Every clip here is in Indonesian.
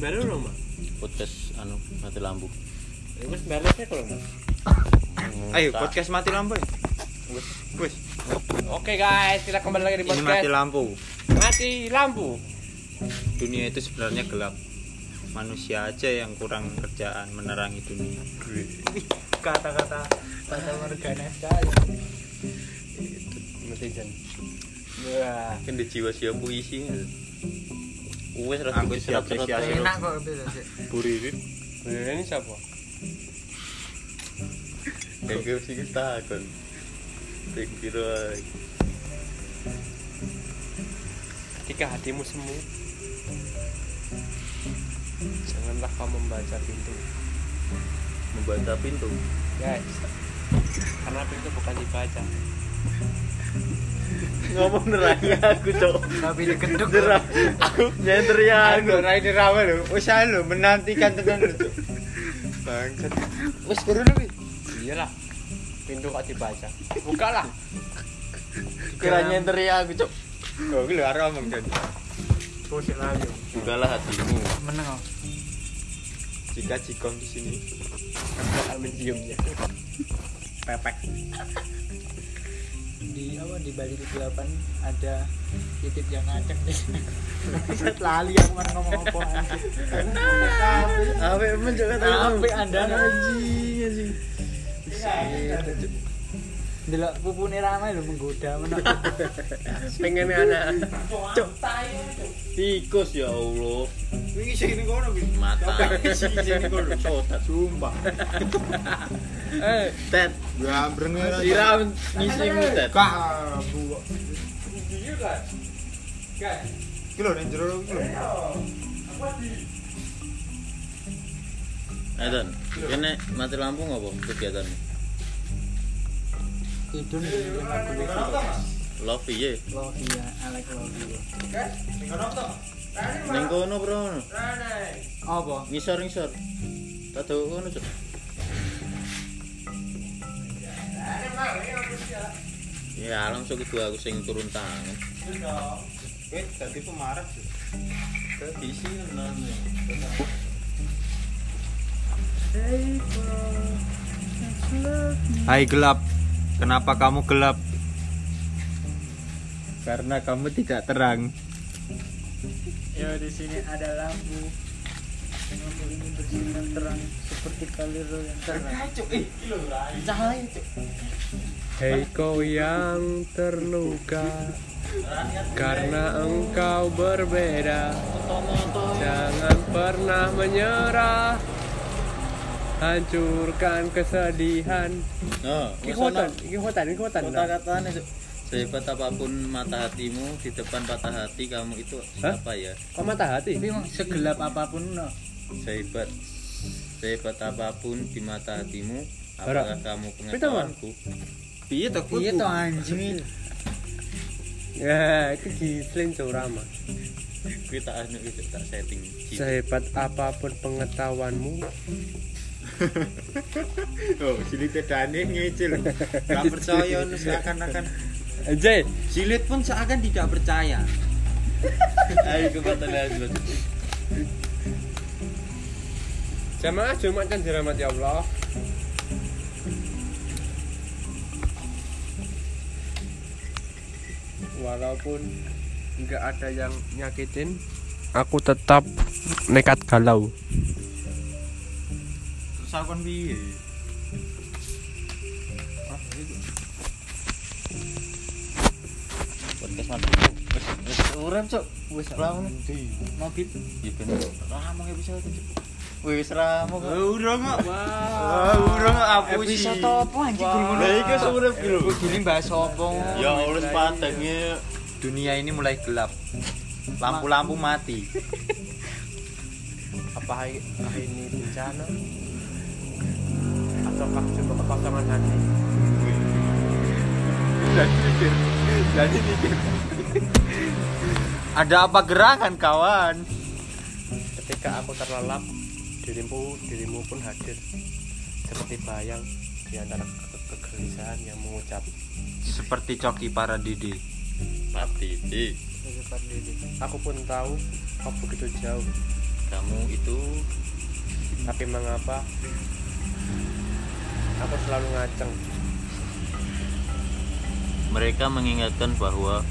baru rumah. podcast anu mati lampu Ya, Wis balesnya kalau mau. Ayo podcast mati lampu. ya? Wes. Oke guys, kita kembali lagi di Ini mati podcast lampu. mati lampu. Dunia itu sebenarnya gelap. Manusia aja yang kurang kerjaan menerangi dunia. Kata-kata kata morgana sekali. Mesti jan. Wah, Kan di jiwa siapa puisi. kan? wes rasa Aku wes siap serap-serap apresiasi. aja. enak kok beda sih Buririt. bener ini siapa? Dan gue sih kita akan. Kira Ketika hatimu semu. Janganlah kamu membaca pintu, membaca pintu. guys. Karena pintu bukan dibaca. Ngomong nerangi aku cok. tapi digeduk Derang. Aku nyenter ya aku. Rai dirama lo. Wes halo menantikan tenan lu cok. Bangsat. wes baru nih Iyalah. Pintu kok dibaca. Bukalah. kira nyenter ya aku cok Kok lu arep ngomong kan. bosik lali bukalah hatimu meneng kok Jika jikong di sini Aku akan menciumnya. pepek. di apa di balik kegelapan ada titip yang ngacak nih Set lali aku kemarin ngomong apa anjing. Awe men cok kata lu. Apik anda Iya, anjing anjing. delok pupune ramai lho menggoda menak Pengen anak. tikus ya allah Wingi sing ning kono iki. mata Sing ning kono sodat sumpah. Ya, eh tet Gambreng siram ngisimu tet Kah bu. Iki lho ning jero iki lho. Edan kene mati lampu ngopo kegiatan tidur di rumah gue love ye lo iya alek lo iya ning kono bro apa ngisor ngisor tato kono cok ya langsung kedua aku sing turun tangan Wes dadi pemarah. isi tenan Hai gelap, kenapa kamu gelap? Karena kamu tidak terang. Ya di sini ada lampu. Lampu ini bersinar terang seperti kalir yang terang. Hei kau yang terluka Karena engkau berbeda Jangan pernah menyerah Hancurkan kesedihan oh Ini kuatan, ini kuatan, ini kuatan kata-katanya Cuk. Sehebat apapun mata hatimu, di depan patah hati kamu itu Hah? apa ya? Kok mata hati? Tapi emang segelap apapun no. Sehebat sehebat apapun di mata hatimu, apakah kamu pengetahuanku? Piye to Iya toh anjing. Ya, itu gislin corama Kuwi tak anu iki, tak setting. Sehebat apapun pengetahuanmu Oh, jilid dane ngecil. Gak percaya nu seakan-akan Anjay, jilid pun seakan tidak percaya. Ayo kekuatan lagi. jamaah Jumat dan dirahmati Allah Walaupun nggak ada yang nyakitin Aku tetap nekat galau Terus aku kan piye? Podcast mati. Wes wes urem, Cuk. Wes ramu. Maghrib. Iya, Ya ben. Ramu episode Cuk. Wes ramu kok. Eh, Urung kok. Eh, Wah, Urung kok apusi. Episode apa Oh, anjing kurang Lah iki urem ki lho. Gue gini bahas apa? Ya Allah padangnya Dunia ini mulai gelap. Lampu-lampu mati. apa hai- ini bencana? Ataukah cuma kekosongan hati? Jadi mikir. Ada apa gerangan kawan? Ketika aku terlelap, dirimu dirimu pun hadir seperti bayang di antara ke- kegelisahan yang mengucap Seperti coki para didi. mati. Aku pun tahu kau begitu jauh kamu itu tapi mengapa aku selalu ngaceng mereka mengingatkan bahwa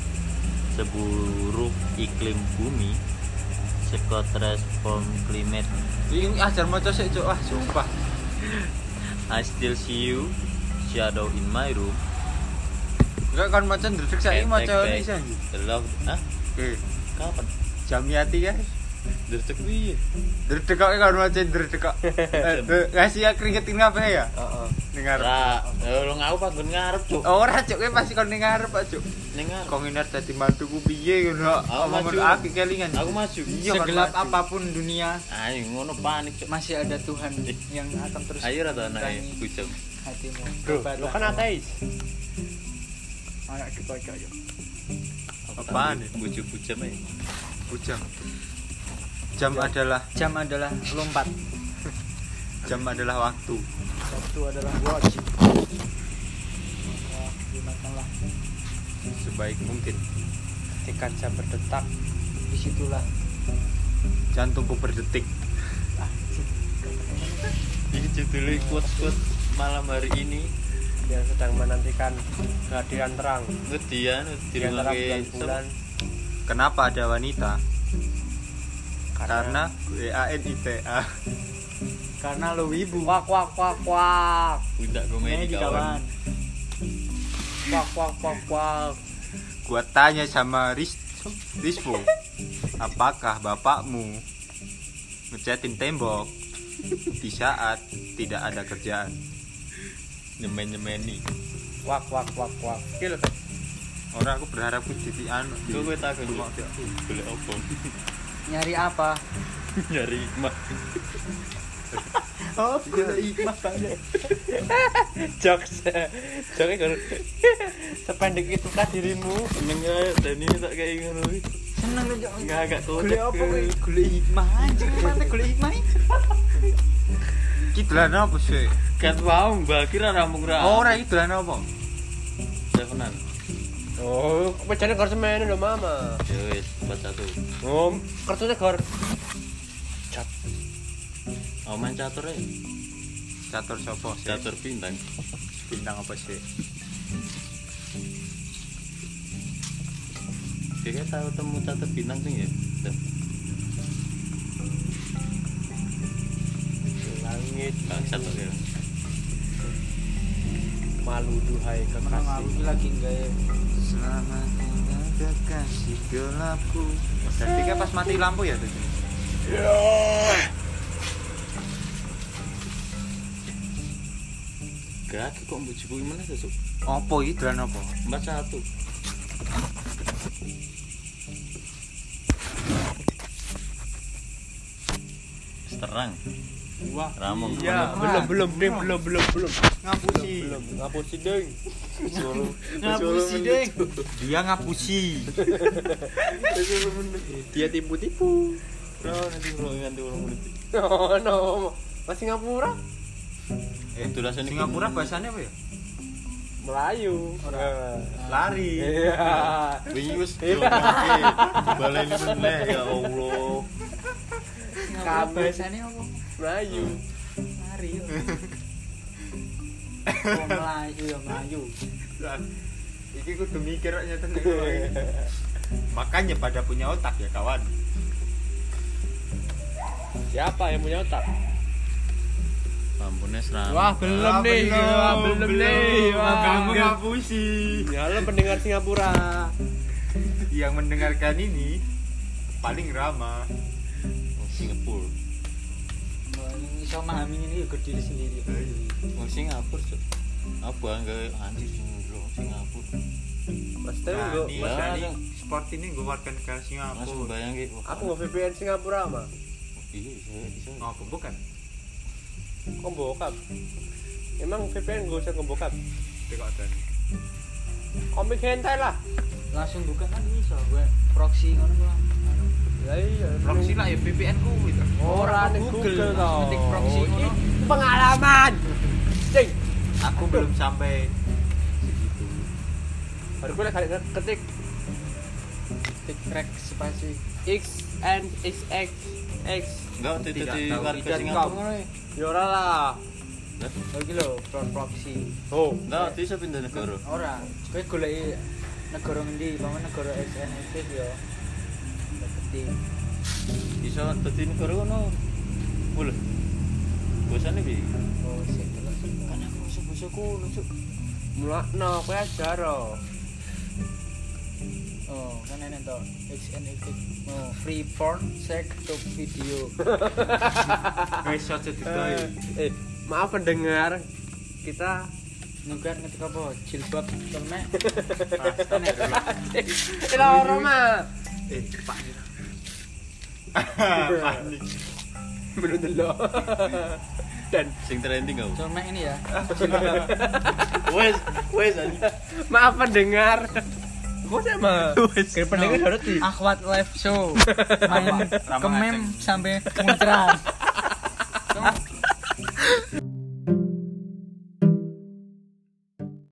seburuk iklim bumi Scott transform climate ini ajar maca sih cok ah sumpah I still see you shadow in my room enggak kan maca ndredeg Can't saiki maca take ini sih back anjing. the love Hah? eh kapan jamiati guys Dresek piye? ndredeg kok kan maca ndredeg kok Eh, eh, ngasih ya keringetin apa ya Heeh. dengar Ra, eh, lho ngau pas ben ngarep, Cuk. Oh, ora cok kowe pasti kon ning ngarep Pak, cuk Ning ngarep. kok nginar dadi mantuku piye ngono Aku ngomong maju. aku kelingan Aku maju. Iya, kan, segelap maju. apapun dunia Ayo ngono panik, Cuk. masih ada Tuhan yang akan terus Iya. Ayo ra ta anake menerangi bujang. hatimu bro Coba lo tak- kan ateis anak dikocok yuk Apaan ya? Bujuk-bujuk ae. bujang jam adalah jam adalah lompat jam adalah waktu waktu adalah watch Wah, gunakanlah sebaik mungkin ketika jam berdetak disitulah jantungku berdetik Iki judule kuat-kuat malam hari ini yang sedang menantikan kehadiran terang ngedian di antara dirungake bulan-bulan kenapa ada wanita karena karena W A N I T A karena lo wibu wak wak wak wak budak ini komedi kawan. kawan wak wak wak wak gua tanya sama Ris Rispo apakah bapakmu ngecatin tembok di saat tidak ada kerjaan Nyemen-nyemeni. wak wak wak wak kill guys orang aku berharap ku jadi anu Kok kowe takon Cuma Cuk? golek opo? nyari apa Nyari hikmah. oh gue ikhlas banget jokes jokes kan sependek itukah dirimu Seneng ae Dani Eh, tak kayak ngono iki. seneng lo jok Enggak agak gue apa gue kocak. gue hikmah anjing mata gue hikmah ini. Iki dolan apa sih Kan mau mbak kira rampung Oh, ra. Ah. orang iki dolan apa Teleponan. oh pacarnya harus main lo mama Ya wis, buat satu. om kartunya gor cap Oh main catur ae. catur sopo sih Catur bintang. bintang apa sih Dia tahu temu catur bintang tuh ya. Tuh, langit Bangsat tuh ya. malu duhai menang aku kekasih lagi enggak ya selamat tinggal kekasih gelapku berarti kan pas mati lampu ya tuh Ya. Gak aku kok mbujuku gimana tuh, Cuk? apa iki dolan apa Empat satu. Terang. wah Ramon. iya belum belum ding belum belum belum ngapusi belum ngapusi ding suruh ngapusi deh dia ngapusi dia tipu-tipu Bro, nanti bro nanti ulang menit. oh no masih ngapura eh Itulah seni- Singapura bahasanya apa ya Melayu orang lari iya Wius, baleni meneh ya Allah. kabeh biasanya apa Melayu lari yuk Oh, Melayu ya Melayu Lah, Iki kudu mikir kok nyata nek ngono iki. Makanya pada punya otak ya kawan. siapa yang punya otak Ampunnya seram. belum Ah, nih wah belum Ah, nih wah Kamu ngapusi. ya lo pendengar Singapura Yang mendengarkan ini paling ramah. Wong Singapura. Yang bisa memahami ini ya ke diri sendiri Iya. Wong Singapura, Cuk. Apa enggak anjir dulu Singapura. pasti Nah, gua ini, Mas nah, Dani. ini sport ini gue warga negara Mas Singapura. bayang ki. wah, aku mau VPN Singapura mah Iya, bisa, bisa. Oh, bukan. kok bokap emang VPN gak usah ngebokap Tekok dan. komik hentai lah langsung buka kan bisa gue proxy ngono lah Anu. ya iya Proxy lah ya VPN ku gitu. orang di Google, Google langsung tau Oh, ketik proxy Ini ngono. pengalaman cing Aku belum sampai segitu. baru gue lagi ketik tikrek spasi X N X X X Enggak, tidak Tidak di tahu, warga tidak Singapura. ya ora lah Lah? lagi lo Oh, front proxy oh Enggak, bisa pindah negara. ora kowe goleki negara ngendi paman negara X N X X yo seperti Bisa dadi negara kono. Boleh. Bosane piye? oh sik delok kan aku musuh-musuhku nunjuk mulakno kowe aja ro oh kan enak to X N X X oh free porn sex to video Wes aja didoi. eh maaf pendengar kita Nugat ngetik apa? Jilbab cermek. Astagfirullah. Ila ora mah. Eh, Pak Nira. Panik. belum dulu dan Sing trending kau. Cermek ini ya. Wes, wes anjing. maaf pendengar kok sama kira Nah, pendengar harus di Akwat live show main Rama kemem sampai muncrat